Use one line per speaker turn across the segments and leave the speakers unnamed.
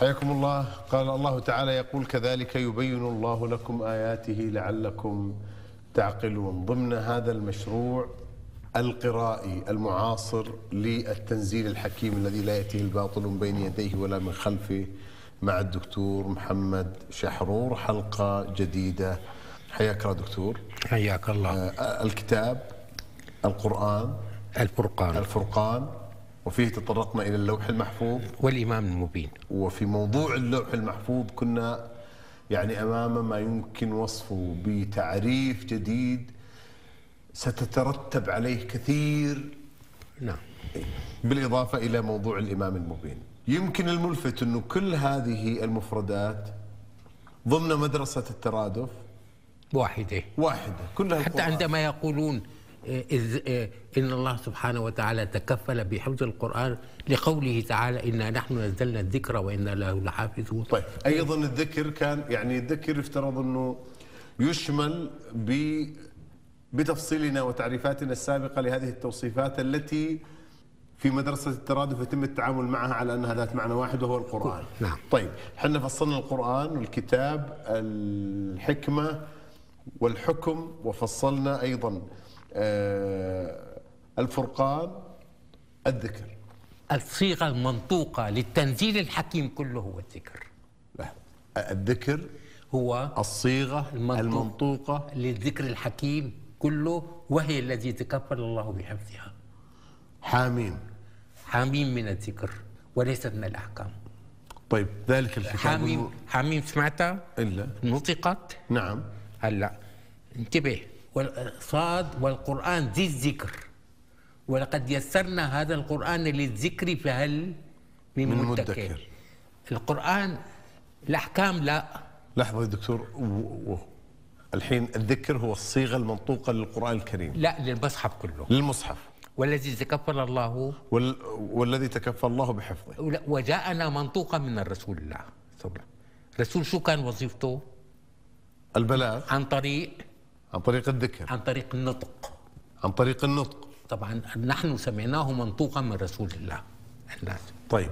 حياكم الله قال الله تعالى يقول كذلك يبين الله لكم آياته لعلكم تعقلون ضمن هذا المشروع القرائي المعاصر للتنزيل الحكيم الذي لا يأتيه الباطل من بين يديه ولا من خلفه مع الدكتور محمد شحرور حلقة جديدة حياك الله دكتور
حياك الله
آه، الكتاب القرآن
الفرقان
الفرقان وفيه تطرقنا إلى اللوح المحفوظ
والإمام المبين
وفي موضوع اللوح المحفوظ كنا يعني امام ما يمكن وصفه بتعريف جديد ستترتب عليه كثير
نعم
بالاضافه الى موضوع الامام المبين. يمكن الملفت انه كل هذه المفردات ضمن مدرسه الترادف
واحدة
واحده كلها
حتى
القرآن.
عندما يقولون آه، إذ آه، إن الله سبحانه وتعالى تكفل بحفظ القرآن لقوله تعالى إنا نحن نزلنا الذكر وإنا له لحافظون
طيب ايضا الذكر كان يعني الذكر يفترض انه يشمل ب بتفصيلنا وتعريفاتنا السابقه لهذه التوصيفات التي في مدرسه الترادف يتم التعامل معها على انها ذات معنى واحد وهو القران.
نعم.
طيب احنا فصلنا القران والكتاب الحكمه والحكم وفصلنا ايضا آه، الفرقان الذكر.
الصيغة المنطوقة للتنزيل الحكيم كله هو الذكر
لا الذكر
هو
الصيغه
المنطوق.
المنطوقه
للذكر الحكيم كله وهي التي تكفل الله بحفظها
حاميم
حاميم من الذكر وليست من الأحكام
طيب ذلك الكتاب
حاميم حاميم سمعتها؟
إلا
نطقت
نعم
هلا انتبه والصاد والقرآن ذي الذكر ولقد يسرنا هذا القرآن للذكر فهل من,
من
من مدكر
مدكر.
القرآن الأحكام لا
لحظة يا دكتور و- و- الحين الذكر هو الصيغة المنطوقة للقرآن الكريم
لا للمصحف كله
للمصحف
والذي تكفل الله
وال... والذي تكفل الله بحفظه
وجاءنا منطوقا من الرسول الله صلى الله عليه وسلم. الرسول شو كان وظيفته
البلاغ
عن طريق
عن طريق الذكر
عن طريق النطق
عن طريق النطق
طبعا نحن سمعناه منطوقا من رسول الله الناس
طيب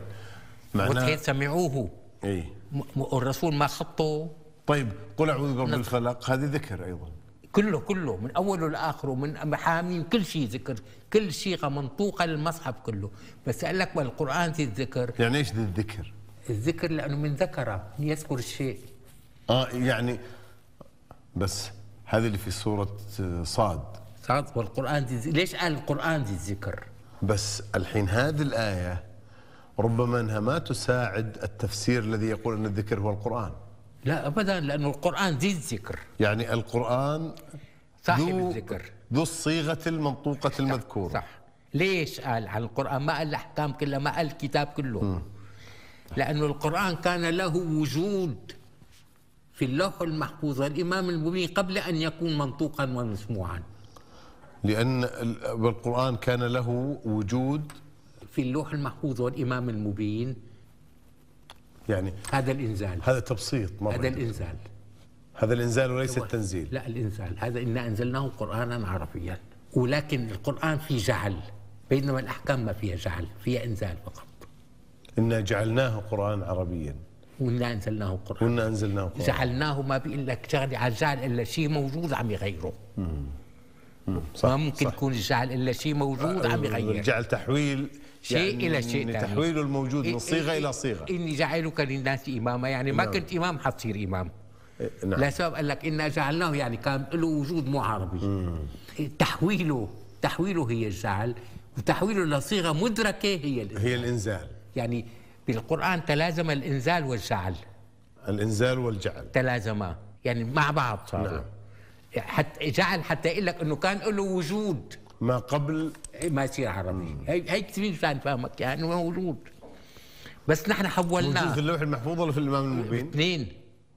معناه
وكيف سمعوه
اي
م- م- الرسول ما خطه
طيب قل اعوذ برب الفلق هذه ذكر ايضا
كله كله من اوله لاخره من حاميم كل شيء ذكر كل شيء منطوقه للمصحف كله بس قال لك والقران في الذكر
يعني ايش ذي الذكر؟
الذكر لانه من ذكر يذكر الشيء
اه يعني بس هذه اللي في سورة آه، صاد
صاد والقران ذي الذكر. ليش قال القران ذي الذكر
بس الحين هذه الآية ربما أنها ما تساعد التفسير الذي يقول أن الذكر هو القرآن
لا ابدا لانه القران ذي الذكر
يعني القرآن
صاحب
ذو-
الذكر
ذو الصيغة المنطوقة المذكورة
صح ليش قال عن القرآن ما قال الأحكام كلها ما قال الكتاب كله لأنه القرآن كان له وجود في اللوح المحفوظ والإمام المبين قبل أن يكون منطوقا ومسموعا
لأن ال- والقرآن كان له وجود
في اللوح المحفوظ والإمام المبين
يعني
هذا الإنزال
هذا تبسيط مرة
هذا الإنزال
هذا الإنزال وليس التنزيل
لا الإنزال هذا إنا أنزلناه قرآنا عربيا ولكن القرآن فيه جعل بينما الأحكام ما فيها جعل فيها إنزال فقط
إنا جعلناه قرآنا عربيا
وإنا أنزلناه قرآنا
وإنا أنزلناه قرآنا
جعلناه ما بقول لك شغله على الجعل الا شيء موجود عم يغيره
صح
ما ممكن
صح. يعني
يكون الجعل الا شيء موجود عم يغير
جعل تحويل
شيء
يعني
إلى شيء إيه، ثاني.
تحويله الموجود من صيغة إلى صيغة
اني جعلك للناس اماما يعني ما كنت امام حتصير امام
نعم.
إيه. لا سبب قال لك انا جعلناه يعني كان له وجود مو عربي تحويله تحويله هي الجعل وتحويله لصيغه مدركه هي الإنزال.
هي الإنزال
يعني بالقران تلازم الانزال والجعل
الإنزال والجعل
تلازما يعني مع بعض صاروا
نعم.
نعم. حتى جعل حتى يقول لك انه كان له وجود
ما قبل
إيه، ما يصير عربي هي هي كثير كان فاهمك يعني موجود بس نحن
وجود في
حولناه
اللوح المحفوظ ولا في الامام المبين؟
اثنين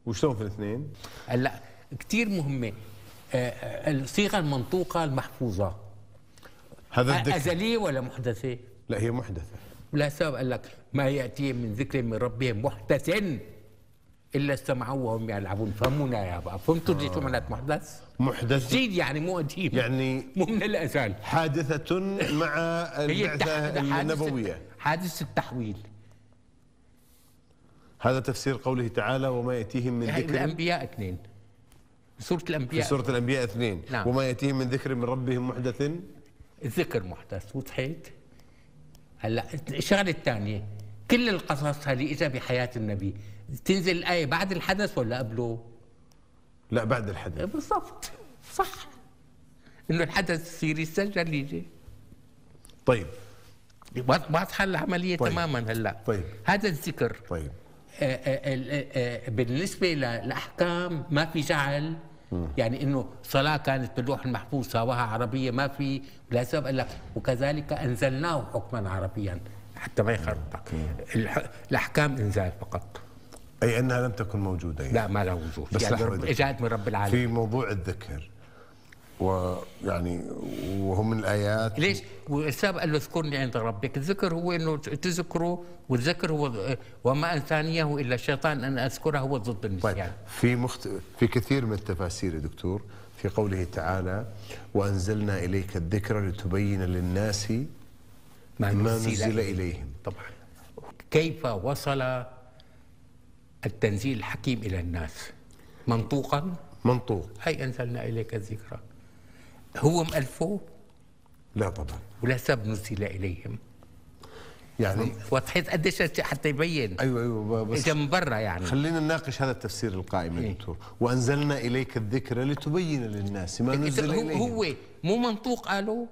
وشلون في الاثنين؟
هلا كثير مهمه آه، آه، الصيغه المنطوقه المحفوظه
هذا الذكر
ازليه ولا محدثه؟
لا هي محدثه
لا سبب قال لك ما ياتيهم من ذكر من ربهم محدث الا استمعوا وهم يلعبون فهمونا يا بقى فهمتوا ليش معنات محدث؟
محدث
جديد يعني مو قديم
آه. يعني
مو من الازال
حادثة مع
هي
البعثة
التح- حادثة-
النبوية
حادث التحويل
هذا تفسير قوله تعالى وما يأتيهم من ذكر
الأنبياء اثنين سورة
في
الأنبياء
سورة الأنبياء اثنين
نعم.
وما يأتيهم من ذكر من ربهم محدث
الذكر محدث وضحيت هلا الشغله الثانيه كل القصص هذه اجى بحياه النبي تنزل الايه بعد الحدث ولا قبله؟
لا بعد الحدث
بالضبط صح انه الحدث يصير يسجل يجي
طيب
واضحه العمليه
طيب.
طيب. تماما هلا
طيب.
هذا الذكر
طيب
آه، آه، آه، آه، بالنسبه للاحكام ما في جعل يعني انه صلاه كانت باللوح المحفوظ سواها عربيه ما في ولا سبب الا وكذلك انزلناه حكما عربيا حتى ما يخرطك الح- الاحكام انزال فقط
أي أنها لم تكن موجودة يعني.
لا ما لها وجود
بس
يعني
لحظة
رب-
دقيقة.
اجت من رب العالمين
في موضوع الذكر ويعني وهم من الآيات
ليش؟ والسبب قال له اذكرني عند ربك، الذكر هو انه تذكره والذكر هو آه، وما انسانيه الا الشيطان ان اذكره هو ضد النسيان
طيب في مخت... في كثير من التفاسير يا دكتور في قوله تعالى وأنزلنا إليك الذكر لتبين للناس
ما
ما
نزل
نزل إليهم
طبعا كيف وصل التنزيل الحكيم الى الناس منطوقا
منطوق
هي انزلنا اليك الذكرى هو مألفه
لا طبعا
ولا سبب نزل اليهم
يعني
وضحيت قديش هالشيء حتى يبين
ايوه ايوه بس
اجى من برا يعني
خلينا نناقش هذا التفسير القائم يا
إيه.
دكتور وانزلنا اليك الذكر لتبين للناس ما نزل
هو,
اليهم
هو مو منطوق قالوا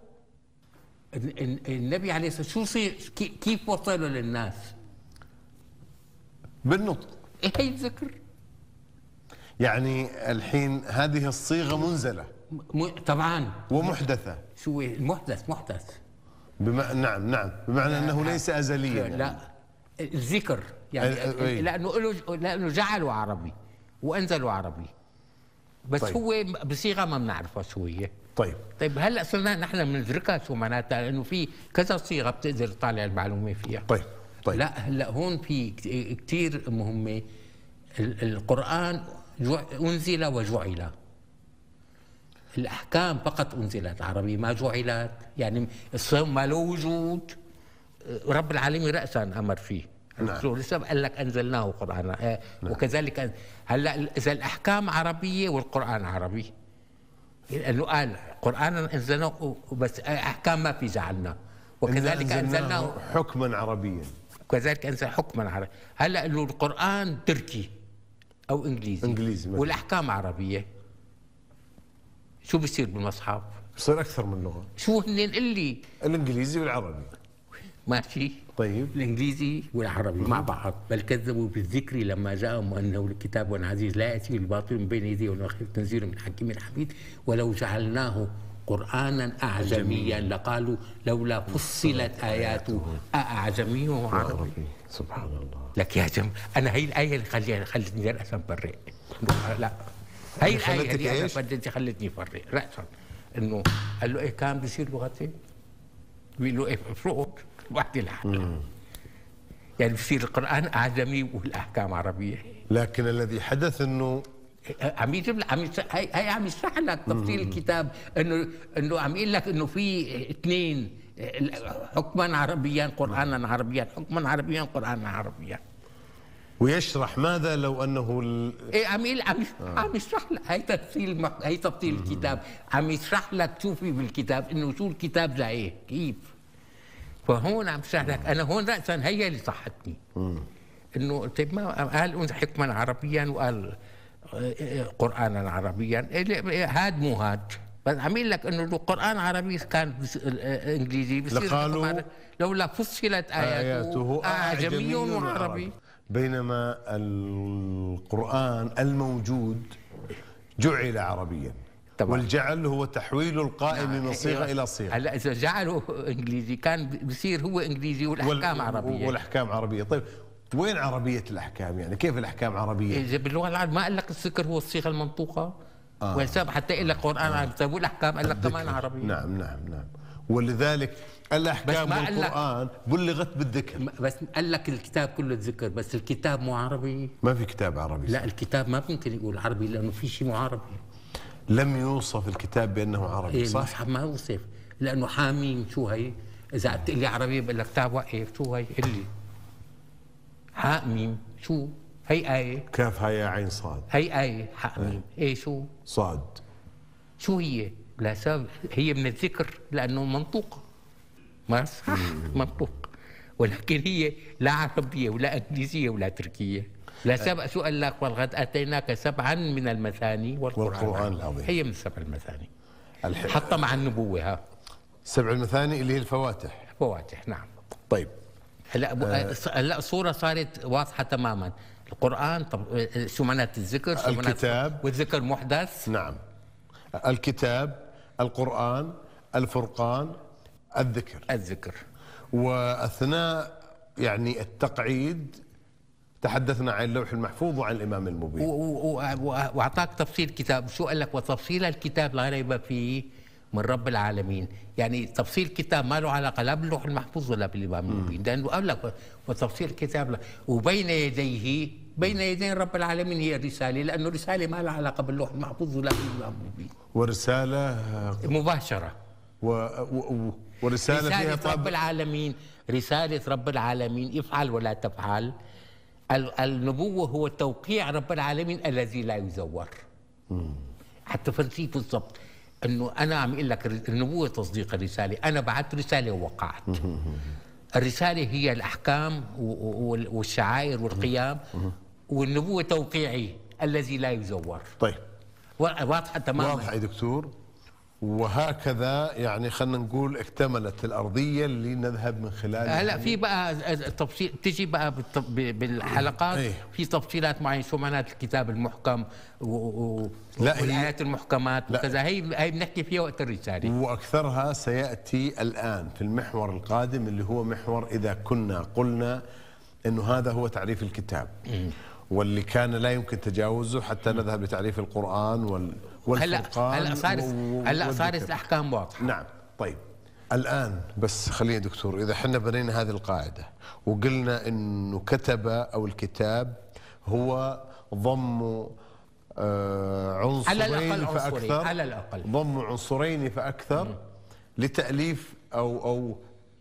ال- ال- النبي عليه الصلاه والسلام شو صير كي- كيف وصلوا للناس؟
بالنطق
إيه هي الذكر
يعني الحين هذه الصيغه منزله
م- م- طبعا
ومحدثه
شو هو؟ المحدث محدث
بما نعم نعم بمعنى انه ليس ازليا يعني.
لا الذكر يعني
ال- ال- إيه.
لانه له لانه جعله عربي وانزله عربي بس
طيب.
طيب. هو بصيغه ما بنعرفها شو هي
طيب
طيب هلا صرنا نحن بنتركها شو معناتها لانه في كذا صيغه بتقدر تطالع المعلومه فيها
طيب طيب
لا هلا هون في كت- كتير مهمه ال- القران جع- انزل وجعل الاحكام فقط انزلت عربي ما جعلت يعني الصوم ما له وجود رب العالمين راسا امر فيه
نعم.
شو لسه قال لك انزلناه قرانا آه، وكذلك أن- هلا ال- اذا الاحكام عربيه والقران عربي لانه قال قرانا انزلناه بس احكام ما في جعلنا وكذلك
إنا
انزلناه
حكما عربيا
وكذلك انزل حكما عربي هلا انه القران تركي او انجليزي
إنجليزي، مثلاً.
والاحكام عربيه شو بصير بالمصحف؟
يصير اكثر من لغه
شو هن اللي
الانجليزي والعربي
ماشي
طيب
الانجليزي والعربي مع بعض بل كذبوا بالذكر لما جاءهم انه الكتاب عزيز لا ياتي الباطل من بين يديه ومن خلفه تنزيل من حكيم حميد ولو جعلناه قرانا اعجميا لقالوا لولا فصلت اياته اعجمي وعربي
عربي سبحان الله
لك يا جم انا هي الايه اللي خلي خلتني راسا بريء إنه لا هي
خلتك
الايه اللي انا
إيش؟
بدتي خلتني فرق راسا انه قال له ايه كان بيصير لغتين بيقول له ايه فروق وحده لحالها يعني بصير القران اعجمي والاحكام عربيه
لكن الذي حدث انه
عم يجيب لك عم يش- هي هي عم يشرح لك تفصيل الكتاب انه انه عم يقول لك انه في اثنين حكما عربيا قرانا عربيا حكما عربيا قرانا عربيا
ويشرح ماذا لو انه ال-
ايه عم يقول- عم عم يشرح لك هي تفصيل مح- هي تفصيل الكتاب عم يشرح لك شو في بالكتاب انه شو الكتاب زعيه كيف فهون عم يشرح لك انا هون راسا هي اللي صحتني انه طيب ما قال أنثى حكما عربيا وقال آه، آه، قرانا عربيا إيه لا، إيه، هاد مو هاد بس عم يقول لك انه لو قران عربي كان بس- آه، آه، انجليزي بصير
لقالوا
القرآن- لولا فصلت اياته
اياته
اعجمي آه، وعربي
آه، بينما القران الموجود جعل عربيا
طبعاً.
والجعل هو تحويل القائم
نعم.
من صيغه
أيوة.
الى صيغه
آه، إيه. هلا اذا جعله انجليزي كان بصير هو انجليزي والاحكام
وال-
عربيه
والاحكام عربيه طيب وين عربيه الاحكام يعني كيف الاحكام عربيه
اذا باللغه العربيه ما قال لك الذكر هو الصيغه المنطوقه
آه.
آه. والسبب حتى قال لك قران عربي طيب والاحكام قال لك كمان
ذكر.
عربيه
نعم
نعم.
نعم نعم ولذلك الاحكام
بس ما قال لك-
والقران بلغت بالذكر
بس قال لك الكتاب كله ذكر بس الكتاب مو عربي
ما في كتاب عربي
لا الكتاب ما ممكن يقول عربي لانه في شيء مو عربي
لم يوصف الكتاب بانه عربي
إيه
طيب، صح
المصحف ما وصف لانه حاميم شو هي اذا إيه؟ قلت لي عربي بقول لك تعال وقف شو هي قل لي حاميم شو هي آية
كافها يا عين صاد
هي آية حق
أيوة.
ميم إيه شو
صاد
شو هي لا سبب هي من الذكر لأنه منطوقة ما صح منطوق ولكن هي لا عربية ولا إنجليزية ولا تركية لا سبق سؤال لك ولقد أتيناك سبعا من المثاني والقرآن,
والقرآن العظيم.
هي من سبع المثاني
الح-
حتى مع النبوة ها
سبع المثاني اللي هي الفواتح
فواتح نعم
طيب
هلا ب-
أه.
هلا الصوره صارت واضحه تماما القران طب شو معنات الذكر شو معنات-
الكتاب.
والذكر محدث
نعم الكتاب القرآن الفرقان الذكر
الذكر
وأثناء يعني التقعيد تحدثنا عن اللوح المحفوظ وعن الإمام
و-
المبين
و- و- واعطاك تفصيل كتاب شو قال لك وتفصيل الكتاب لا ريب فيه من رب العالمين يعني تفصيل كتاب ما له علاقه لا باللوح المحفوظ ولا بالامام المبين لانه قال لك وتفصيل كتاب لا- وبين يديه بين يدي رب العالمين هي الرساله لانه الرساله ما لها علاقه باللوح المحفوظ ولا بالامام المبين
ورسالة
مباشره
و... و... و... ورسالة فيها
رسالة رب
طابع
العالمين رسالة رب العالمين افعل ولا تفعل ال- النبوة هو توقيع رب العالمين الذي لا يزور حتى فرسي بالضبط انه انا عم اقول لك النبوة تصديق الرسالة انا بعت رسالة ووقعت الرسالة هي الاحكام و- و- وال- والشعائر والقيام والنبوة توقيعي الذي لا يزور
طيب
وا- واضحة تماما
واضح يا دكتور وهكذا يعني خلينا نقول اكتملت الأرضية اللي نذهب من خلالها
هلا آه، في بقى تفصيل تجي بقى بالت- ب- بالحلقات
إيه.
في تفصيلات معينه شو معنات الكتاب المحكم و- و-
لا، هي-
والايات المحكمات
لا.
وكذا هي هي بنحكي فيها وقت الرساله
وأكثرها سيأتي الآن في المحور القادم اللي هو محور إذا كنا قلنا أنه هذا هو تعريف الكتاب واللي كان لا يمكن تجاوزه حتى نذهب لتعريف القرآن وال
هلا
والفرقان
هلا صارت
و- و-
هلا صارت
والذكر.
الاحكام واضحه
نعم طيب الآن بس خلينا دكتور إذا حنا بنينا هذه القاعدة وقلنا أنه كتب أو الكتاب هو ضم آه، عنصرين
على الأقل
فأكثر
عنصرين، على الأقل.
ضم عنصرين فأكثر لتأليف أو أو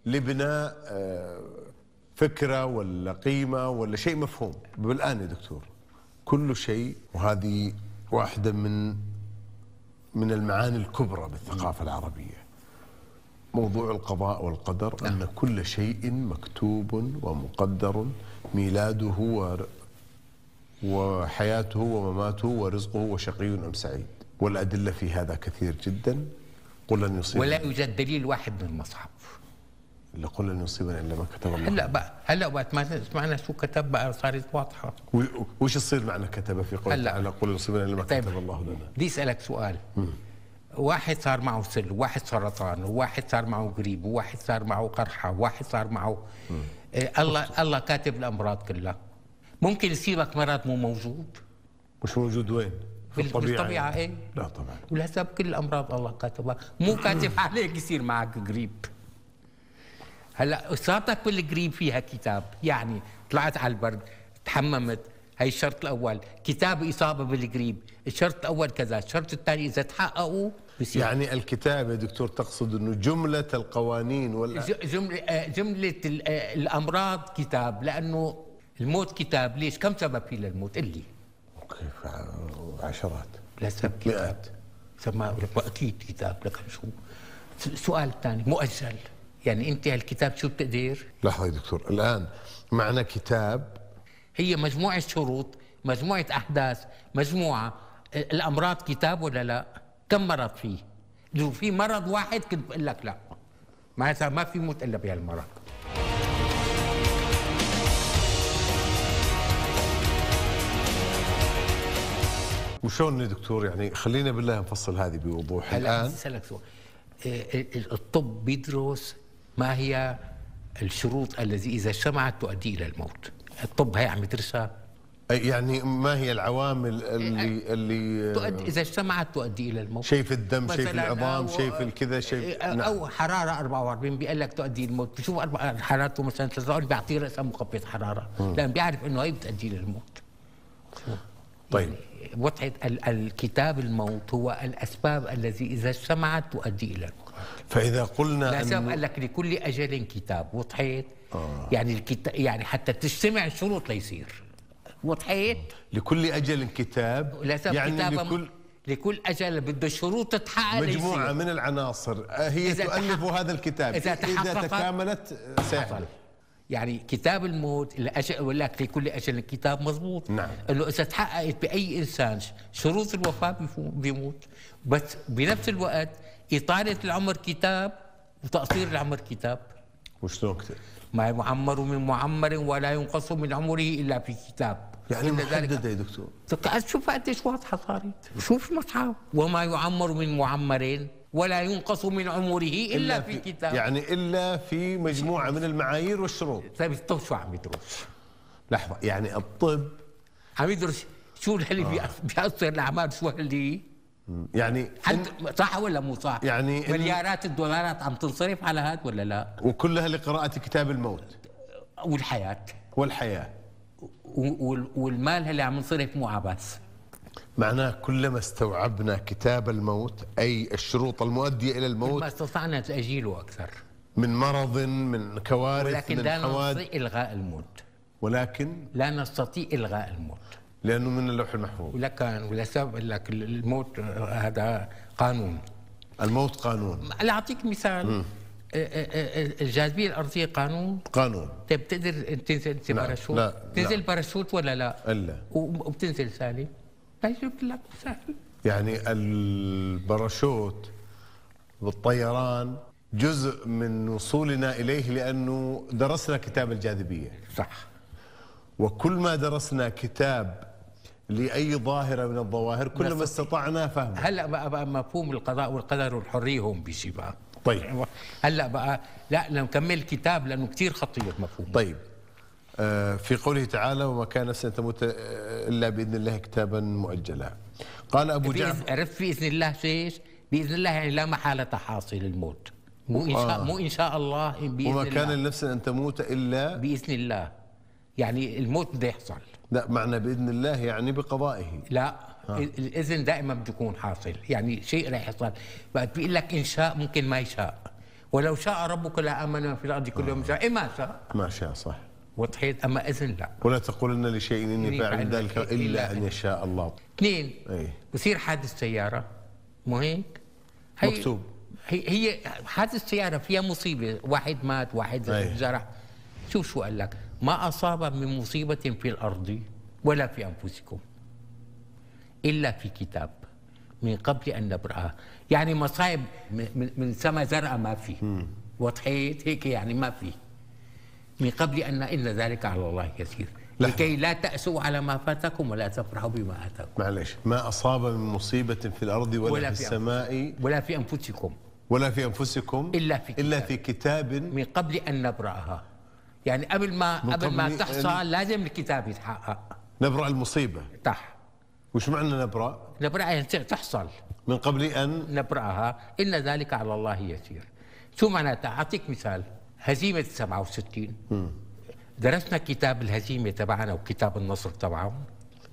لبناء آه، فكرة ولا قيمة ولا شيء مفهوم بالآن يا دكتور كل شيء وهذه واحدة من من المعاني الكبرى بالثقافة العربية موضوع القضاء والقدر
نعم.
أن كل شيء مكتوب ومقدر ميلاده ور- وحياته ومماته ورزقه وشقي أم سعيد والأدلة في هذا كثير جدا قل لن
ولا
يصيبنا
يوجد دليل واحد من المصحف
قل لن يصيبنا إلا ما كتب الله
هلا بقى هلا وقت ما سمعنا شو كتب بقى صارت واضحه
و- وش يصير معنا كتب في قوله
هلا.
تعالى قل لن يصيبنا إلا ما
طيب.
كتب الله لنا
بدي اسالك سؤال واحد صار معه سل وواحد سرطان وواحد صار معه قريب وواحد صار معه قرحه وواحد صار معه آه الله الله كاتب الامراض كلها ممكن يصيبك مرض مو موجود
مش موجود وين؟ في
بال-
الطبيعة
بالطبيعة،
يعني.
إيه.
لا طبعا
ولحسب كل الامراض الله كاتبها مو كاتب عليك يصير معك قريب هلا اصابتك بالقريب فيها كتاب يعني طلعت على البرد تحممت هي الشرط الاول كتاب اصابه بالقريب الشرط الاول كذا الشرط الثاني اذا تحققوا بصير
يعني الكتاب يا دكتور تقصد أنه جملة القوانين وال
ج- جملة آه، جملة ال- آه، الأمراض كتاب لأنه الموت كتاب ليش كم سبب في للموت قل لي
كيف ع- عشرات
لا سبب كتاب
مئات
سما لك أكيد كتاب لك شو س- سؤال ثاني مؤجل يعني أنت هالكتاب شو بتقدر
لحظة يا دكتور الآن معنا كتاب
هي مجموعة شروط مجموعة أحداث مجموعة آه، الأمراض كتاب ولا لا كم مرض فيه لو في مرض واحد كنت بقول لك لا معناتها ما في موت إلا بهالمرض
وشون يا دكتور يعني خلينا بالله نفصل هذه بوضوح
هلا بدي
الآن
اسالك سؤال إيه، ال- الطب بيدرس ما هي الشروط الذي اذا اجتمعت تؤدي الى الموت الطب هي عم يدرسها
أي يعني ما هي العوامل
أه.
اللي اللي
تؤدي اذا اجتمعت تؤدي الى الموت
شيء في الدم شيء في
طيب. مثلاً
العظام
أو-
شيء في الكذا شيء
إيه،
في- نعم
او حراره 44 بيقول لك تؤدي للموت بشوف أربعة- حرارته مثلا 43 بيعطيه رأسه مخفض حراره لان بيعرف انه هي بتؤدي للموت أه.
طيب
وضعت ال- الكتاب الموت هو الاسباب الذي اذا اجتمعت تؤدي الى الموت
فإذا قلنا
لا سبب
أن
قال لك لكل
آه.
اجل كتاب وضحيت يعني الكتاب يعني حتى تجتمع الشروط ليصير وضحيت
لكل أجل كتاب
لازم
يعني
كتابة
لكل
لكل اجل بده شروط تتحقق
مجموعة
ليصير.
من العناصر أه، هي
إذا
تؤلف
تحقق-
هذا الكتاب
إذا تحقق-
تكاملت سيحصل
يعني كتاب الموت الأجل ولا لكل اجل كتاب مضبوط
نعم.
انه اذا تحققت باي انسان شروط الوفاه بيفو- بيموت بس بنفس الوقت اطاله العمر كتاب وتقصير العمر كتاب
وشلون كتاب؟
ما يعمر من معمر ولا ينقص من عمره الا في كتاب
يعني
إن
محددة يا دكتور
ذلك شوف قديش واضحه صارت شوف المصحف وما يعمر من معمر ولا ينقص من عمره الا, إلا في كتاب يعني
يعني إلا في مجموعة من المعايير والشروط
طيب الطب شو عم يدرس؟
لحظة يعني الطب
عم يدرس شو اللي آه. بيأثر الاعمال شو اللي
يعني
حد صح ولا مو صح؟
يعني إن-
مليارات الدولارات عم تنصرف على هذا ولا لا؟
وكلها لقراءة كتاب الموت
والحياه
والحياة
و- وال- والمال اللي عم ينصرف مو عبث
معناه كلما استوعبنا كتاب الموت أي الشروط المؤدية إلى الموت
ما استطعنا تاجيله اكثر
من مرض من كوارث
ولكن
من
لا
حوادث
نستطيع الغاء الموت
ولكن
لا نستطيع الغاء الموت
لأنه من اللوح المحفوظ
ولكن ولسبب لك الموت آه، هذا قانون
الموت قانون
لا اعطيك مثال آه، آه، آه، الجاذبيه الارضيه قانون
قانون
طيب بتقدر تنزل انت
لا،
باراشوت
لا،
تنزل
لا.
باراشوت ولا لا
إلا
وب- وبتنزل سالم لا يجيب لك مثال
يعني الباراشوت والطيران جزء من وصولنا إليه لأنه درسنا كتاب الجاذبية
صح
وكل ما درسنا كتاب لأي ظاهرة من الظواهر كلما استطعنا فهمه
هلا بقى, بقى مفهوم القضاء والقدر والحريه هون بيجي بقى
طيب
هلا بقى لا نكمل الكتاب لانه كثير خطير مفهوم
طيب آه، في قوله تعالى وما كان نفس تموت آه، إلا بإذن الله كتابا مؤجلا قال أبو جعفر
بإذن- عرفت باذن الله شيء باذن الله يعني لا محاله حاصل الموت مو ان شاء
آه.
مو ان شاء الله باذن
وما
الله
كان لنفس أن تموت إلا
باذن الله يعني الموت بده يحصل
لا معنى بإذن الله يعني بقضائه
لا
آه.
ال- الاذن دائما بده يكون حاصل يعني شيء رح يحصل بعد بيقول لك ان شاء ممكن ما يشاء ولو شاء ربك لامن من في الارض
آه.
كلهم شاء ما شاء
ما شاء صح
وضحيت اما اذن لا
ولا تقولن لشيء اني
إني
فاعل
فاعل
ذلك
ذلك
الا
إلا
ان
أن-
يشاء الله إيه.
اثنين
أي.
بصير حادث سياره مو هيك؟
مكتوب.
هي هي حادث سياره فيها مصيبه واحد مات واحد
أي.
انجرح شوف شو قال لك ما اصاب من مصيبه في الارض ولا في انفسكم الا في كتاب من قبل ان نبراها يعني مصايب من- من من سما زرقاء ما في وضحيت هيك يعني ما في من قبل ان ان ذلك على الله يسير
لحظة.
لكي لا تأسوا على ما فاتكم ولا تفرحوا بما آتاكم
معلش ما اصاب من مصيبه في الارض ولا,
ولا
في
في
السماء
ولا في أنفسكم
ولا في انفسكم
إلا في
الا في كتاب
من قبل أن نبرأها يعني قبل ما
من
قبل ما
قبل
تحصل لازم الكتاب يتحقق
نبرا المصيبه
صح
وش معنى نبرا
نبرأها يعني تحصل
من قبل ان
نبرأها إن ذلك على الله يسير شو معناتها أعطيك مثال هزيمة 67 درسنا كتاب الهزيمة تبعنا وكتاب النصر تبعهم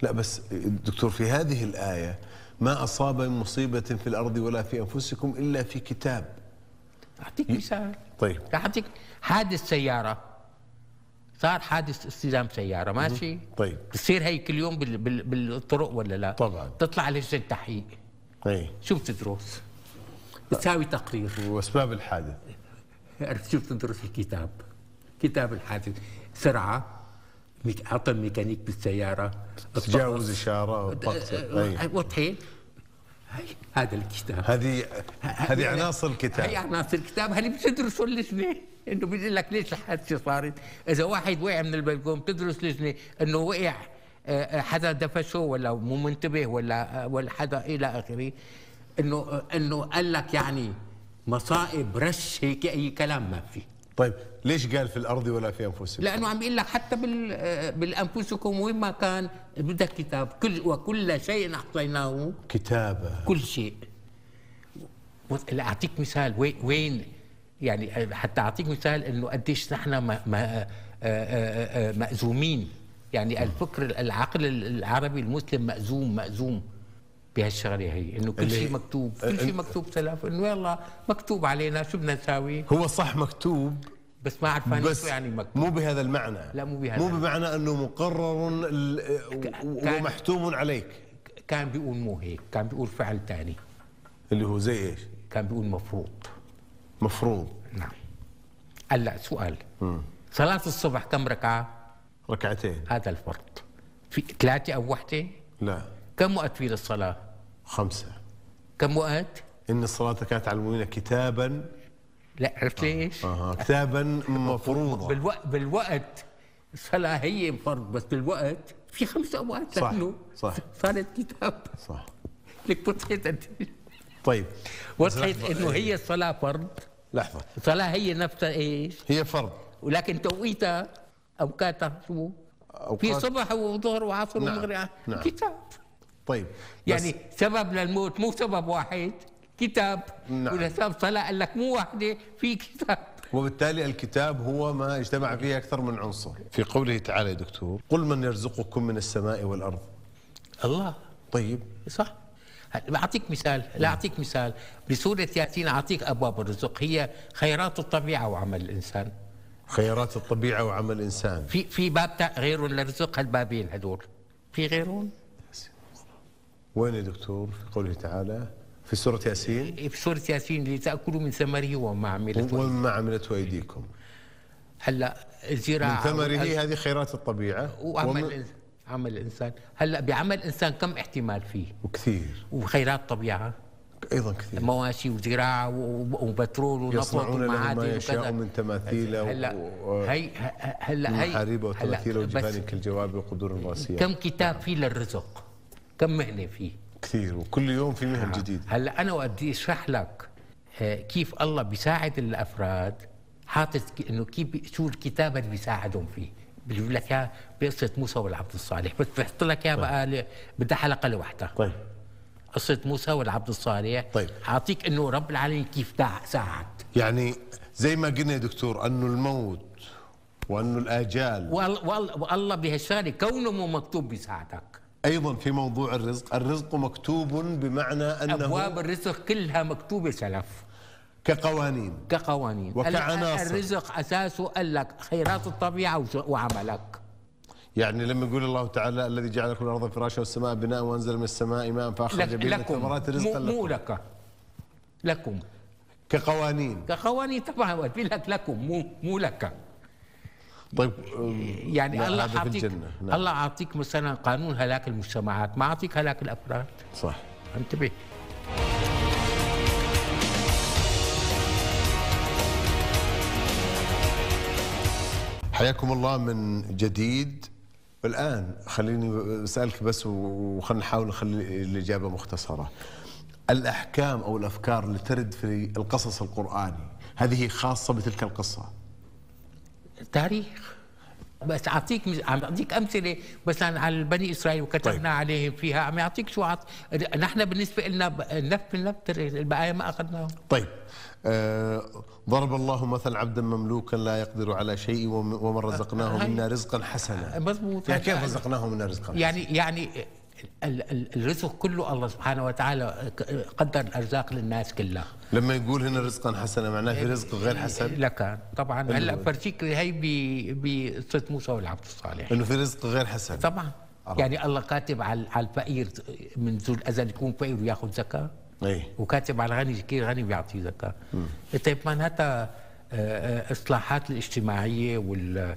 لا بس دكتور في هذه الايه ما اصاب من مصيبه في الارض ولا في انفسكم الا في كتاب
أعطيك مثال
طيب
رح أعطيك حادث سيارة صار حادث اصطدام سيارة ماشي
طيب
بتصير هي كل يوم بال... بال... بالطرق ولا لا؟
طبعاً.
تطلع لجنة تحقيق،
اي
شو بتدرس؟ بتساوي تقرير،
واسباب الحادث
عرفت شو بتدرس الكتاب؟ كتاب الحادث، سرعة، ميك... عطل ميكانيك بالسيارة،
تجاوز اشاره
الطقس.
وطقس
أه،
أي.
وضحت؟ هي- هذا الكتاب
هذه هذه عناصر الكتاب
هي عناصر الكتاب هل بتدرسوا اللجنه؟ انه بيقول لك ليش الحادثه صارت؟ اذا واحد وقع من البلكون بتدرس لجنه انه وقع آه، آه، حدا دفشه ولا مو منتبه ولا آه، ولا حدا الى اخره انه آه، انه قال لك يعني مصائب رش هيك اي كلام ما في
طيب ليش قال في الارض ولا في انفسكم؟
لانه عم يقول لك حتى بال آه، بالانفسكم وين ما كان بدك كتاب كل وكل شيء احصيناه
كتابه
كل شيء و- لا اعطيك مثال وين وين يعني حتى اعطيك مثال انه قديش نحن ما ما آه، آه، آه، مأزومين
نعم.
يعني الفكر العقل العربي المسلم مأزوم مأزوم بهالشغله هي انه كل
اللي- أه،
شيء مكتوب كل شيء مكتوب سلف انه يلا مكتوب علينا شو بدنا نساوي
هو صح مكتوب
بس ما اعرف انا شو
بس
يعني مكتوب
مو بهذا المعنى
لا، مو بهذا
مو
المعنى.
بمعنى انه مقرر ال-
كان-
ومحتوم عليك
كان بيقول مو هيك كان بيقول فعل تاني
اللي هو زي ايش؟
كان بيقول مفروض
مفروض
نعم هلا سؤال صلاة الصبح كم ركعة؟
ركعتين
هذا الفرض في ثلاثة أو وحدة؟
لا
كم وقت في للصلاة؟
خمسه
كم وقت؟
ان الصلاه كانت على المؤمنين كتابا
لا عرفت ليش؟
آه. كتابا مفروضا
بالوقت بالوقت الصلاة هي فرض بس بالوقت في خمس أوقات
صح،
لأنه
صح.
صارت كتاب
صح
لك وضحت قد-
طيب
وضحت إنه هي الصلاة فرض
لحظه
الصلاة هي نفسها إيش؟
هي فرض
ولكن توقيتها اوقاتها شو في
أوقات-
صبح وظهر وعصر
نعم،
ومغرب
نعم.
كتاب
طيب
يعني
بس
سبب للموت مو سبب واحد كتاب
نعم.
ولا سبب صلاه قال لك مو واحده في كتاب
وبالتالي الكتاب هو ما اجتمع فيه اكثر من عنصر في قوله تعالى يا دكتور قل من يرزقكم من السماء والارض
الله
طيب
صح هل- بعطيك مثال لا اعطيك مثال بسوره ياسين اعطيك ابواب الرزق هي خيرات الطبيعه وعمل الانسان
خيرات الطبيعه وعمل الانسان
في في باب تا- غير للرزق هالبابين هدول في غيرهم
وين يا دكتور في قوله تعالى في سوره ياسين
في سوره ياسين لتاكلوا من ثمره وما عملته
وما عملت ايديكم
هلا
من
الزراعه
ثمره
والأز-
هذه خيرات الطبيعه
وعمل
ومن-
الإنس- عمل الانسان هلا بعمل الانسان كم احتمال فيه
وكثير
وخيرات طبيعه
ايضا كثير
مواشي وزراعه و- وبترول ونفط
يصنعون له ما
ومعادن
يشاء
وكذا
من تماثيل
هلا هي ه- هلا هي
ومحاريب وتماثيل
هلا بس
وجبان كالجواب وقدور راسيه
كم كتاب فيه للرزق كم مهنه فيه
كثير وكل يوم في مهن
آه.
جديده
هلا انا بدي اشرح لك آه، كيف الله بيساعد الافراد حاطط ك- انه كيف بي- شو الكتاب اللي بيساعدهم فيه بجيب لك اياها بقصه موسى والعبد الصالح بس بحط لك اياها بقى ل- بدها حلقه لوحدها
طيب
قصه موسى والعبد الصالح
طيب.
حاعطيك انه رب العالمين كيف دع- ساعد
يعني زي ما قلنا يا دكتور انه الموت وانه الاجال
وال- وال- والله بهالشغله كونه مو مكتوب بيساعدك
ايضا في موضوع الرزق الرزق مكتوب بمعنى
ابواب
انه
الرزق كلها مكتوبه سلف
كقوانين
كقوانين
وكعناصر.
الرزق اساسه قال لك خيرات الطبيعه وش- وعملك
يعني لما يقول الله تعالى الذي جعل لكم الارض فراشا والسماء بناء وانزل من السماء ماء
لك
فاخرج به من
لكم
الثمرات رزقا
مو, مو
لكم
لك لكم
كقوانين
كقوانين تبعها بقول لك لكم مو مو لك
طيب
يعني
لا،
الله
هذا في
حاطيك
الجنة، نعم.
الله اعطيك مثلا قانون هلاك المجتمعات ما اعطيك هلاك الافراد
صح
انتبه
حياكم الله من جديد الآن خليني أسألك بس وخلينا نحاول نخلي الإجابة مختصرة الأحكام أو الأفكار اللي ترد في القصص القرآني هذه خاصة بتلك القصة
تاريخ بس اعطيك مز- عم اعطيك امثله مثلا على بني اسرائيل وكتبنا
طيب.
طيب. عليهم فيها عم يعطيك شو عط... نحن بالنسبه لنا ب- نف من نف البقايا ما اخذناهم
طيب آه ضرب الله مثلا عبدا مملوكا لا يقدر على شيء وم- ومن رزقناه
هاي-
منا رزقا حسنا
مزبوط
يعني كيف رزقناه منا رزقا حسنا؟
يعني يعني ال- ال- الرزق كله الله سبحانه وتعالى ك- قدر الارزاق للناس كلها
لما يقول هنا رزقا حسنا معناه في رزق غير حسن
لك طبعا
حلو.
هلا فرجيك هي ب- بقصه موسى والعبد الصالح
انه في رزق غير حسن
طبعا
أرى.
يعني الله كاتب على على الفقير من ذو الازل يكون فقير وياخذ زكاه
اي
وكاتب على الغني كثير غني بيعطيه زكاه طيب معناتها آه، آه، اصلاحات الاجتماعيه وال آه،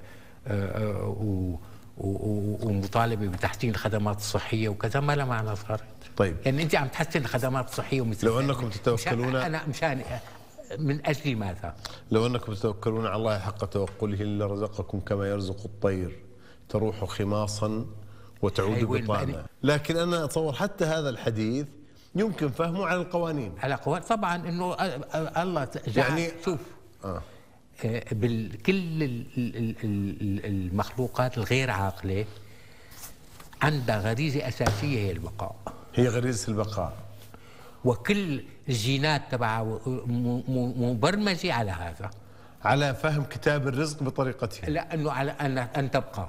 آه، و- و- و- ومطالبه بتحسين الخدمات الصحيه وكذا ما لها معنى صارت
طيب.
يعني انت عم تحسن الخدمات الصحيه ومثل
لو أنكم تتوكلون-
مشان انا مشان من اجل ماذا؟
لو انكم تتوكلون على الله حق توكله لرزقكم كما يرزق الطير تروح خماصا وتعود
أي وين
بطانا
بقى؟
لكن انا اتصور حتى هذا الحديث يمكن فهمه على القوانين
على قوات طبعا انه آه، آه، الله ت- جعل
يعني-
شوف
آه.
بكل المخلوقات الغير عاقله عندها غريزه اساسيه هي البقاء
هي غريزه البقاء
وكل الجينات تبعها و- م- م- مبرمجه على هذا
على فهم كتاب الرزق بطريقته
لانه على ان ان تبقى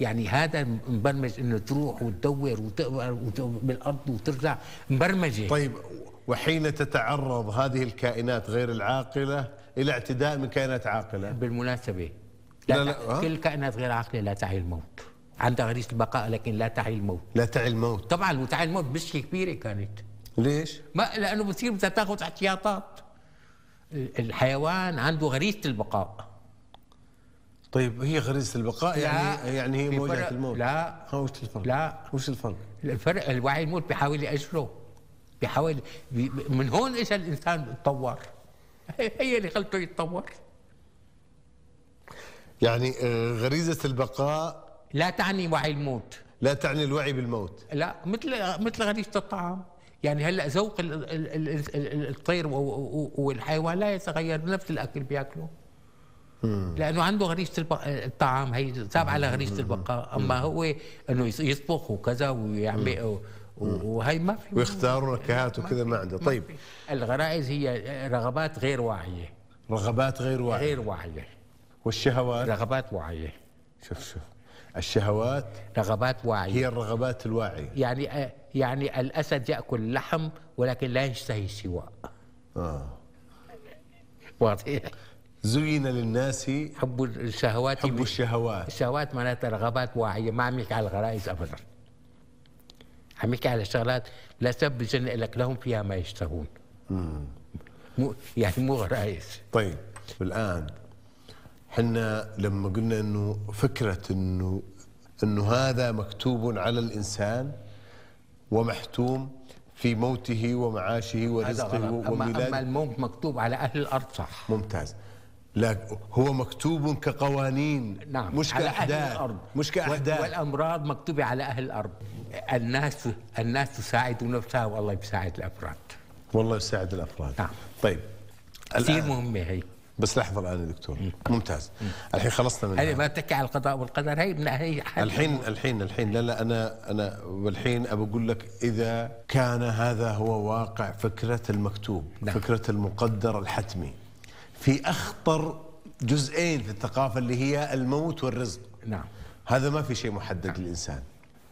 يعني هذا مبرمج انه تروح وتدور وتقبر وت- بالارض وترجع مبرمجه
طيب وحين تتعرض هذه الكائنات غير العاقله الى اعتداء من كائنات عاقله
بالمناسبة
لا،
لا آه.
لا،
لا
ها؟
كل كائنات غير عاقلة لا تعي الموت عندها غريزة البقاء لكن لا تعي الموت
لا تعي الموت
طبعا وتعي الموت مشكلة كبيرة كانت
ليش؟
ما لأنه بتصير بدها تاخذ احتياطات ال- الحيوان عنده غريزة البقاء
طيب هي غريزه البقاء
لا.
يعني يعني هي
في
موجه
فرق-
الموت
لا.
ها، وش الفرق؟
لا.
وش الفرق؟
الفرق الوعي الموت بيحاول يأجله بيحاول بي من هون اجى الانسان تطور هي هي اللي خلته يتطور
يعني آه، غريزه البقاء
لا تعني وعي الموت
لا تعني الوعي بالموت
لا مثل مثل غريزه الطعام يعني هلا ذوق ال- ال- ال- ال- الطير و- و- والحيوان لا يتغير نفس الاكل بياكله لانه عنده غريزه الب- الطعام هي تابعه لغريزه البقاء اما هو انه يص- يطبخ وكذا ويعمل و- وهي ما في
ويختار نكهات وكذا ما عنده طيب
الغرائز هي رغبات غير واعيه
رغبات غير واعيه
غير واعيه
والشهوات
رغبات واعيه
شوف شوف الشهوات
رغبات واعيه
هي الرغبات الواعيه
يعني يعني الاسد ياكل اللحم ولكن لا يشتهي السواء
آه.
واضح
زين للناس
إيه. حب الشهوات
حب الشهوات
الشهوات معناتها رغبات واعيه ما عم يحكي على الغرائز ابدا عم يحكي على شغلات لا سب الجنة لك لهم فيها ما يشتهون مو يعني مو غرائز
طيب الان حنا لما قلنا انه فكره انه انه هذا مكتوب على الانسان ومحتوم في موته ومعاشه
هذا
ورزقه
غلط أما, اما
وميلاده
الموت مكتوب على اهل الارض صح
ممتاز لا هو مكتوب كقوانين
نعم
مش
على أهل
كاحداث
الارض
مش
وال-
كاحداث
والامراض مكتوبه على اهل الارض الناس الناس تساعد نفسها والله بيساعد الافراد
والله يساعد الافراد
نعم.
طيب
كثير
الآن
مهمه هي
بس لحظه الان يا دكتور ممتاز الحين خلصنا من
هي
هذا.
ما بتحكي على القضاء والقدر هي من هي حل-
الحين الحين الحين لا لا انا انا والحين ابى اقول لك اذا كان هذا هو واقع فكره المكتوب
نعم.
فكره المقدر الحتمي في اخطر جزئين في الثقافه اللي هي الموت والرزق
نعم
هذا ما في شيء محدد للانسان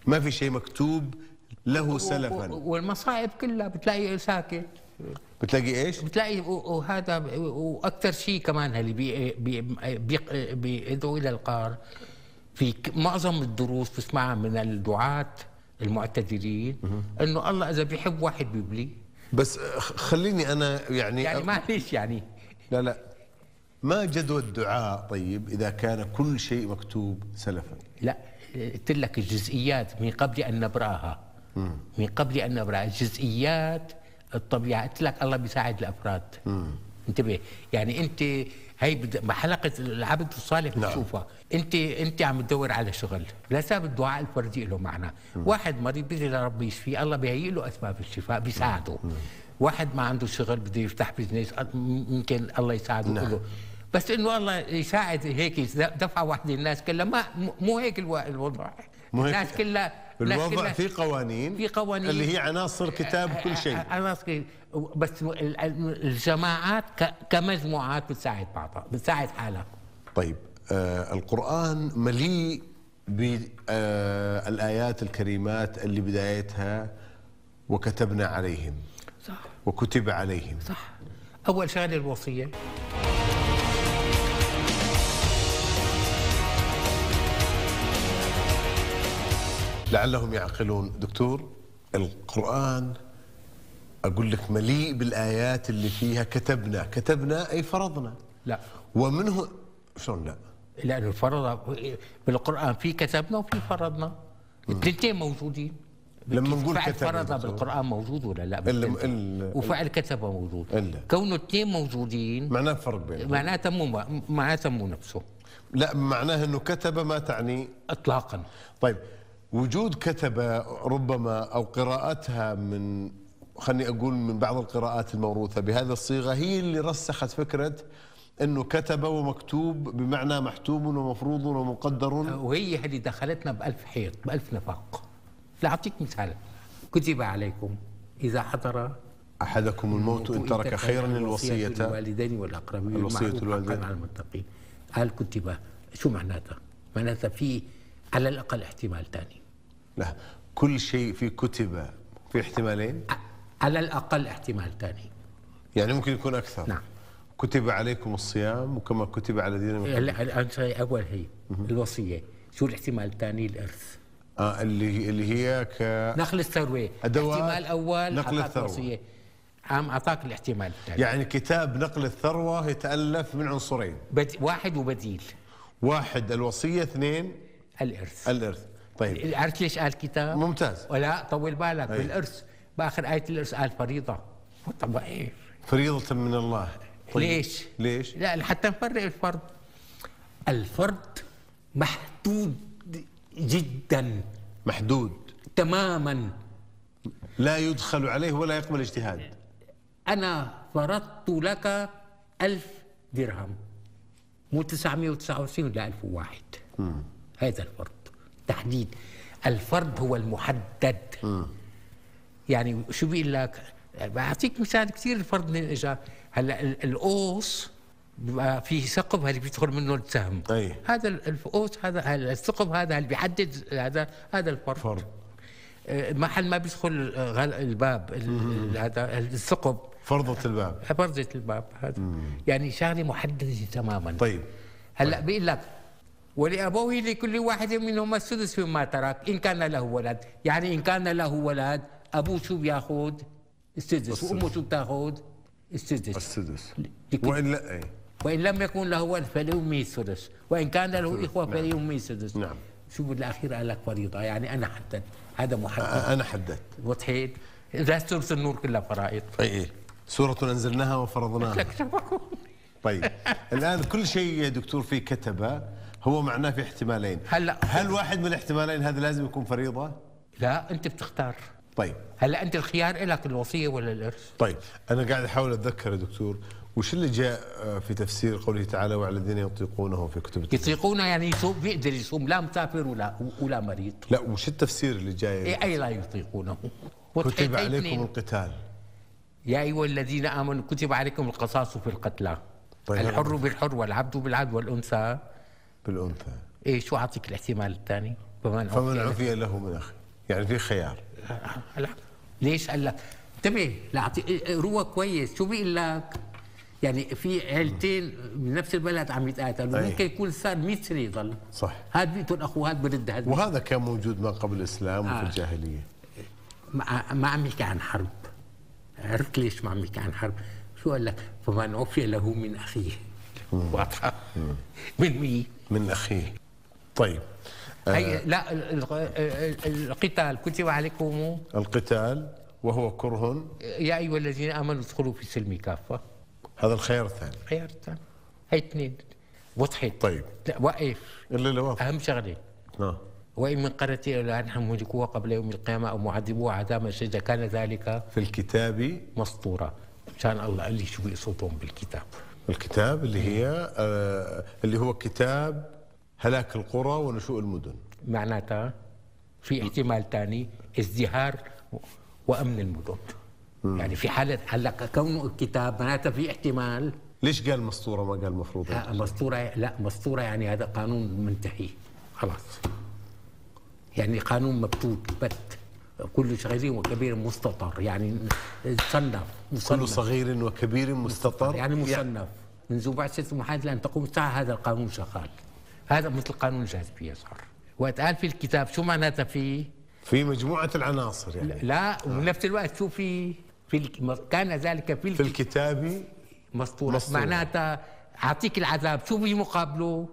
ما في شيء مكتوب له
و-
سلفا
والمصائب كلها بتلاقي ساكت
بتلاقي ايش
بتلاقي و- وهذا ب- واكثر شيء كمان اللي بي بي بي- بيدعو الى القار في ك- معظم الدروس بسمعها من الدعاة المعتدلين انه الله اذا بيحب واحد بيبليه
بس آه، خ- خليني انا يعني
يعني معلش يعني
لا لا ما جدوى الدعاء طيب اذا كان كل شيء مكتوب سلفا
لا قلت لك الجزئيات من قبل ان نبراها من قبل ان نبراها الجزئيات الطبيعه قلت لك الله بيساعد الافراد انتبه يعني انت هي بد- حلقه العبد الصالح
نعم.
بتشوفها انت انت عم تدور على شغل لا سبب الدعاء الفردي له معنى واحد مريض بيجي لربي يشفيه الله بيهيئ له اسباب الشفاء بيساعده واحد ما عنده شغل بده يفتح بزنس ممكن الله يساعده
نعم.
كله بس انه الله يساعد هيك دفعه واحده الناس كلها ما مو هيك الو- الوضع
مو هيك.
الناس كلها الناس
بالوضع
كلها-
في قوانين
في قوانين. آه،
اللي هي عناصر كتاب كل شيء
انا صغير. بس ال- ال- الجماعات ك- كمجموعات بتساعد بعضها بتساعد حالها
طيب آه القرآن مليء بالآيات الكريمات اللي بدايتها وكتبنا عليهم
صح
وكتب عليهم
صح اول شغله الوصيه
لعلهم يعقلون دكتور القرآن أقول لك مليء بالآيات اللي فيها كتبنا كتبنا أي فرضنا
لا
ومنه شلون لا
لانه الفرض بالقران في كتبنا وفي فرضنا الثنتين موجودين
لما نقول
فعل
كتبنا
فرض
دكتور.
بالقران موجود ولا لا
إلا-
بالتنتين.
إلا-
وفعل كتب موجود
إلا.
كونه اثنين موجودين
معناه فرق بينهم
معناتها مو معناتها مو نفسه
لا معناه أنه كتب ما تعني
اطلاقا
طيب وجود كتبة ربما أو قراءتها من خلني أقول من بعض القراءات الموروثة بهذه الصيغة هي اللي رسخت فكرة أنه كتب ومكتوب بمعنى محتوم ومفروض ومقدر
وهي هذه دخلتنا بألف حيط بألف نفاق لأعطيك مثال كتب عليكم إذا حضر
أحدكم الموت إن ترك خيرا الوصية
الوالدين والأقربين
الوصية
والمعروف حقاً
الوالدين.
على المتقين قال كتب شو معناتها؟ معناتها في على الأقل احتمال ثاني
لا كل شيء في كتب في احتمالين
على الأقل احتمال ثاني
يعني ممكن يكون أكثر
نعم.
كتب عليكم الصيام وكما كتب على الذين من قبل
لا الان شيء اول هي الوصيه شو الاحتمال الثاني الارث
آه اللي اللي هي ك
نقل الثروه
أدوات
احتمال اول
نقل
أعطاك
الثروة.
وصية. عم اعطاك الاحتمال الثاني
يعني كتاب نقل الثروه يتالف من عنصرين
بد... واحد وبديل
واحد الوصيه اثنين
الارث
الارث طيب
الارث ليش قال كتاب
ممتاز
ولا طول بالك بالارث باخر ايه الارث قال فريضه طب ايه
فريضه من الله طيب.
ليش؟
ليش
لا حتى نفرق الفرد الفرد محدود جدا
محدود
تماما
لا يدخل عليه ولا يقبل اجتهاد
انا فرضت لك ألف درهم مو 999 لا 1001 هذا الفرض تحديد الفرض هو المحدد يعني شو بيقول لك بعطيك مثال كثير الفرض من اجى هلا ال- القوس بيبقى فيه ثقب هل بيدخل منه السهم
أي.
هذا ال- القوس هذا هل- الثقب هذا اللي بيحدد هذا هذا الفرض
فرض.
آه، محل ما بيدخل آه، غل- الباب ال- ال- هذا الثقب
فرضه الباب
برزة الباب هذا يعني شغله محدده تماما
طيب
هلا بيقول لك ولابوه لكل واحد منهما السدس مما ترك ان كان له ولد يعني ان كان له ولد ابوه شو بياخذ السدس وامه شو بتاخذ السدس
السدس إيه.
لكل-
والا اي
وان لم يكن له ولد فلامه السدس وان كان له اخوه فلامه السدس
نعم.
شو بالاخير قال لك فريضه يعني انا حددت هذا محدد
أ- انا حددت
وضحت لا ثلث النور كلها فرائض
اي اي سوره انزلناها وفرضناها طيب الان كل شيء يا دكتور في كتبه هو معناه في احتمالين
هلا
هل واحد من الاحتمالين هذا لازم يكون فريضه
لا انت بتختار
طيب
هلا انت الخيار لك الوصيه ولا الارث
طيب انا قاعد احاول اتذكر يا دكتور وش اللي جاء آه، في تفسير قوله تعالى وعلى الذين يطيقونه في كتب التفسير
يطيقون يعني يصوم بيقدر يصوم لا مسافر ولا ولا مريض
لا وش التفسير اللي جاي
إيه، اي لا يطيقونه
كتب
وتحيي
عليكم
اثنين.
القتال
يا ايها الذين امنوا كتب عليكم القصاص في القتلى
طيب.
الحر بالحر والعبد بالعبد والانثى
بالانثى
ايه شو اعطيك الاحتمال الثاني فمن
فمن
عرف-
عفي له من اخي يعني في خيار
هلا ليش قال لك انتبه لا أعطي- إيه، روى كويس شو بيقول لك يعني في عيلتين من نفس البلد عم يتقاتلوا
أي.
ممكن يكون صار 100 سنه يضل
صح
هاد بيقتل اخوه هاد برد هاد
وهذا كان موجود ما قبل الاسلام وفي
آه.
الجاهليه
ما ما عم يحكي عن حرب عرفت ليش ما عم يحكي عن حرب شو قال لك فمن عفي له من اخيه واضحه من مين
من اخيه طيب
هي لا ال- ال- ال- القتال كتب عليكم
القتال وهو كره
يا ايها الذين امنوا ادخلوا في السلم كافه
هذا الخيار الثاني
خيار ثاني هي اثنين وضحت
طيب
لا واقف
الا اللي وافق
اهم شغله
آه.
وان من قريه الا نحن مهلكوها قبل يوم القيامه او معذبوها عذابا شديدا كان ذلك
في الكتاب
مسطورا مشان الله قال لي شو بيقصدهم بالكتاب
الكتاب اللي هي آه اللي هو كتاب هلاك القرى ونشوء المدن
معناتها في احتمال ثاني ازدهار وامن المدن يعني في حاله هلا كونه الكتاب معناتها في احتمال
ليش قال مسطوره ما قال مفروضه
لا، مسطوره لا مسطوره يعني هذا قانون منتهي خلاص يعني قانون مبتوت بت كل صغير وكبير مستطر يعني صنف
كل
مصنف
صغير وكبير مستطر
يعني مصنف منذ بعثة محمد لأن تقوم الساعة هذا القانون شغال هذا مثل قانون الجاذبية صار وقت قال في الكتاب شو معناتها فيه
في مجموعه العناصر يعني
لا وبنفس الوقت شو في في الك- كان ذلك في
في
الك-
الكتاب
مسطورة
مسطورة.
معناتها اعطيك العذاب شو في مقابله؟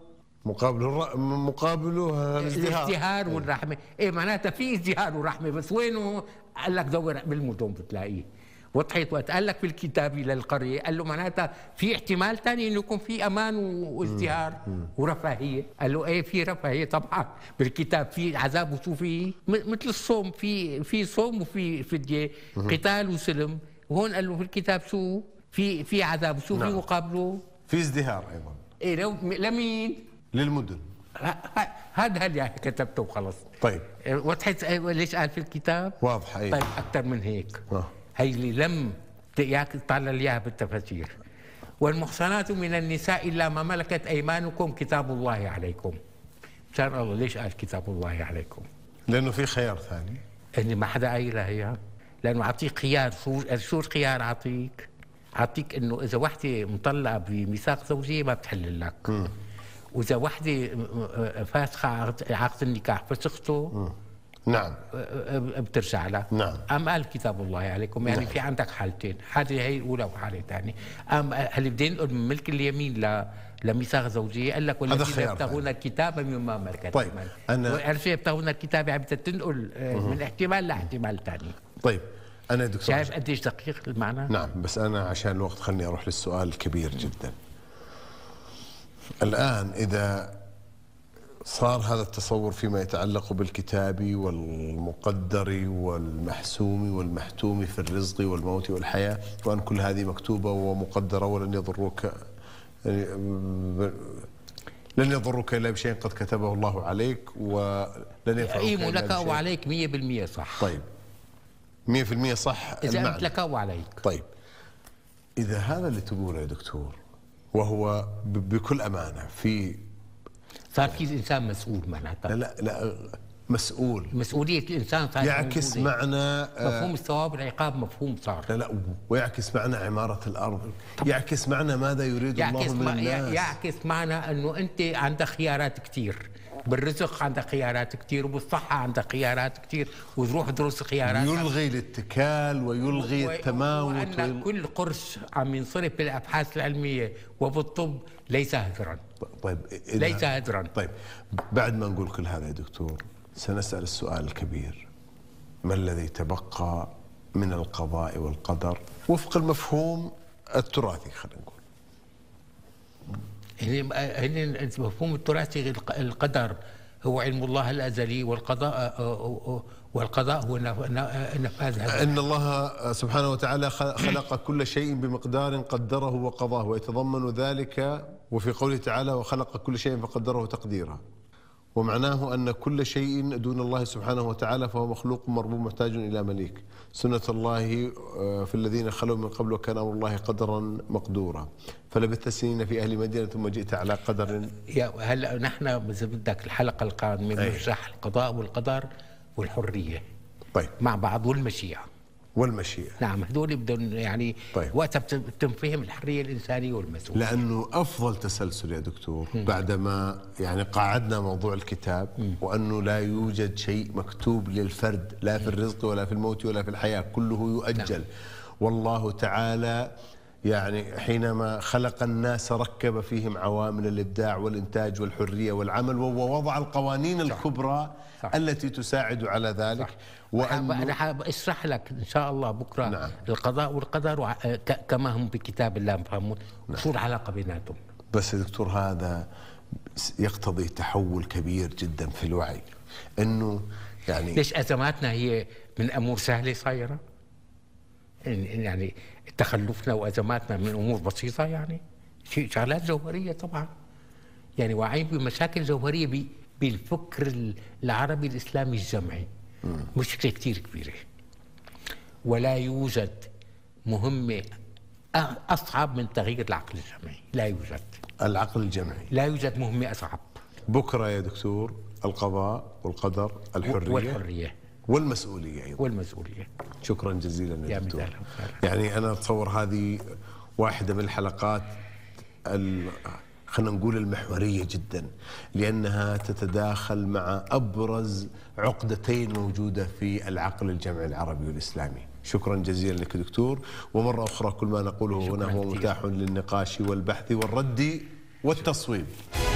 مقابله الر- مقابله الازدهار
الازدهار والرحمه، ايه معناتها في ازدهار ورحمه بس وينه؟ قال لك دور بالمدن بتلاقيه وضحت وقت قال لك بالكتاب للقريه قال له معناتها في احتمال ثاني انه يكون في امان وازدهار ورفاهيه قال له ايه في رفاهيه طبعا بالكتاب في عذاب وشو في مثل الصوم في في صوم وفي فديه قتال وسلم وهون قال له في الكتاب شو في في عذاب وشو في
نعم.
مقابله
في ازدهار ايضا
ايه لو لمين
للمدن
ه- ه- هذا اللي كتبته وخلص
طيب
وضحت ليش قال في الكتاب؟
واضحه أيضا.
طيب اكثر من هيك
آه.
هي اللي لم ت- ياك طلع لي اياها بالتفاسير والمحصنات من النساء الا ما ملكت ايمانكم كتاب الله عليكم مشان الله ليش قال كتاب الله عليكم؟
لانه في خيار ثاني
اني ما حدا قايلها هي لانه اعطيك خيار شو شو الخيار اعطيك؟ اعطيك انه اذا وحده مطلقه بميثاق زوجيه ما بتحل لك واذا وحده فاسخه عقد عقد النكاح فسخته
نعم
بترجع لها
نعم.
أم قال كتاب الله عليكم يعني في عندك حالتين حالة هي الأولى وحالة ثانية أم هل بدي ننقل من ملك اليمين ل لميثاق زوجية قال لك والذين
خيار ثاني.
يبتغون الكتاب مما ملكت
طيب، أنا-
أنا يبتغون الكتاب يعني بدك تنقل آه، من احتمال لاحتمال ثاني
طيب انا دكتور
شايف قديش دقيق المعنى؟
نعم بس أنا عشان الوقت خلني أروح للسؤال الكبير جدا الآن إذا صار هذا التصور فيما يتعلق بالكتاب والمقدر والمحسوم والمحتوم في الرزق والموت والحياة وأن كل هذه مكتوبة ومقدرة ولن يضروك يعني، لن يضرك إلا بشيء قد كتبه الله عليك ولن ينفعك
يقيم
إلا
لك
بشيء.
وعليك 100% صح
طيب 100% صح
إذا
طيب، المعنى.
قلت لك وعليك
طيب اذا هذا اللي تقوله يا دكتور وهو ب- بكل امانه في
صار في إنسان مسؤول
لا
معناتها
لا, لا مسؤول
مسؤولية الإنسان صار
يعكس
موجودة.
معنى آه،
مفهوم الثواب والعقاب مفهوم صار
لا لا ويعكس معنى عماره الارض يعكس معنى ماذا يريد
يعكس
الله من
ما
الناس
يعكس معنى انه انت عندك خيارات كتير بالرزق عندك خيارات كتير وبالصحة عندك خيارات كتير وتروح تدرس خيارات
يلغي الاتكال ويلغي التماوت
وأن
ويل-
كل قرش عم ينصرف بالأبحاث العلمية وبالطب ليس هدرا
طيب إذا-
ليس هدرا
طيب بعد ما نقول كل هذا يا دكتور سنسأل السؤال الكبير ما الذي تبقى من القضاء والقدر وفق المفهوم التراثي خلينا نقول
هن هن المفهوم التراثي الق- القدر هو علم الله الأزلي والقضاء والقضاء هو نف- نف- نفاذ هذا
ان الله آه، سبحانه وتعالى خ- خلق كل شيء بمقدار قدره وقضاه ويتضمن ذلك وفي قوله تعالى وخلق كل شيء فقدره تقديرا ومعناه ان كل شيء دون الله سبحانه وتعالى فهو مخلوق مربوب محتاج الى مليك سنه الله آه، في الذين خلوا من قبل وكان امر الله قدرا مقدورا فلبثت سنين في اهل مدينه ثم جئت على قدر
يا هلا نحن اذا بدك الحلقه القادمه
أي.
بنشرح القضاء والقدر والحريه
طيب
مع بعض والمشيئه
والمشيئه
نعم هدول بدهم يعني
طيب.
وقتها بت- بتنفهم الحريه الانسانيه والمسؤوليه
لانه افضل تسلسل يا دكتور بعدما يعني قعدنا موضوع الكتاب وانه لا يوجد شيء مكتوب للفرد لا في الرزق ولا في الموت ولا في الحياه كله يؤجل والله تعالى يعني حينما خلق الناس ركب فيهم عوامل الابداع والانتاج والحريه والعمل ووضع القوانين الكبرى
صح.
التي تساعد على ذلك
وأنا
وأنه
انا حاب اشرح لك ان شاء الله بكره
نعم.
القضاء والقدر وع- ك- كما هم بكتاب الله مفهمون
نعم.
شو العلاقه بيناتهم
بس يا دكتور هذا يقتضي تحول كبير جدا في الوعي انه يعني
ليش ازماتنا هي من امور سهله صايره إن- إن يعني تخلفنا وازماتنا من امور بسيطه يعني شيء شغلات جوهريه طبعا يعني واعيين بمشاكل جوهريه ب- بالفكر ال- العربي الاسلامي الجمعي مشكله كثير كبيره ولا يوجد مهمه أ- اصعب من تغيير العقل الجمعي لا يوجد
العقل الجمعي
لا يوجد مهمه اصعب
بكره يا دكتور القضاء والقدر الحريه
والحريه
والمسؤوليه ايضا
والمسؤوليه
شكرا جزيلا يا
يا
دكتور
مثال.
يعني انا اتصور هذه واحده من الحلقات ال- خلينا نقول المحوريه جدا لانها تتداخل مع ابرز عقدتين موجوده في العقل الجمعي العربي والاسلامي شكرا جزيلا لك دكتور ومره اخرى كل ما نقوله هنا هو
كثير.
متاح للنقاش والبحث والرد والتصويب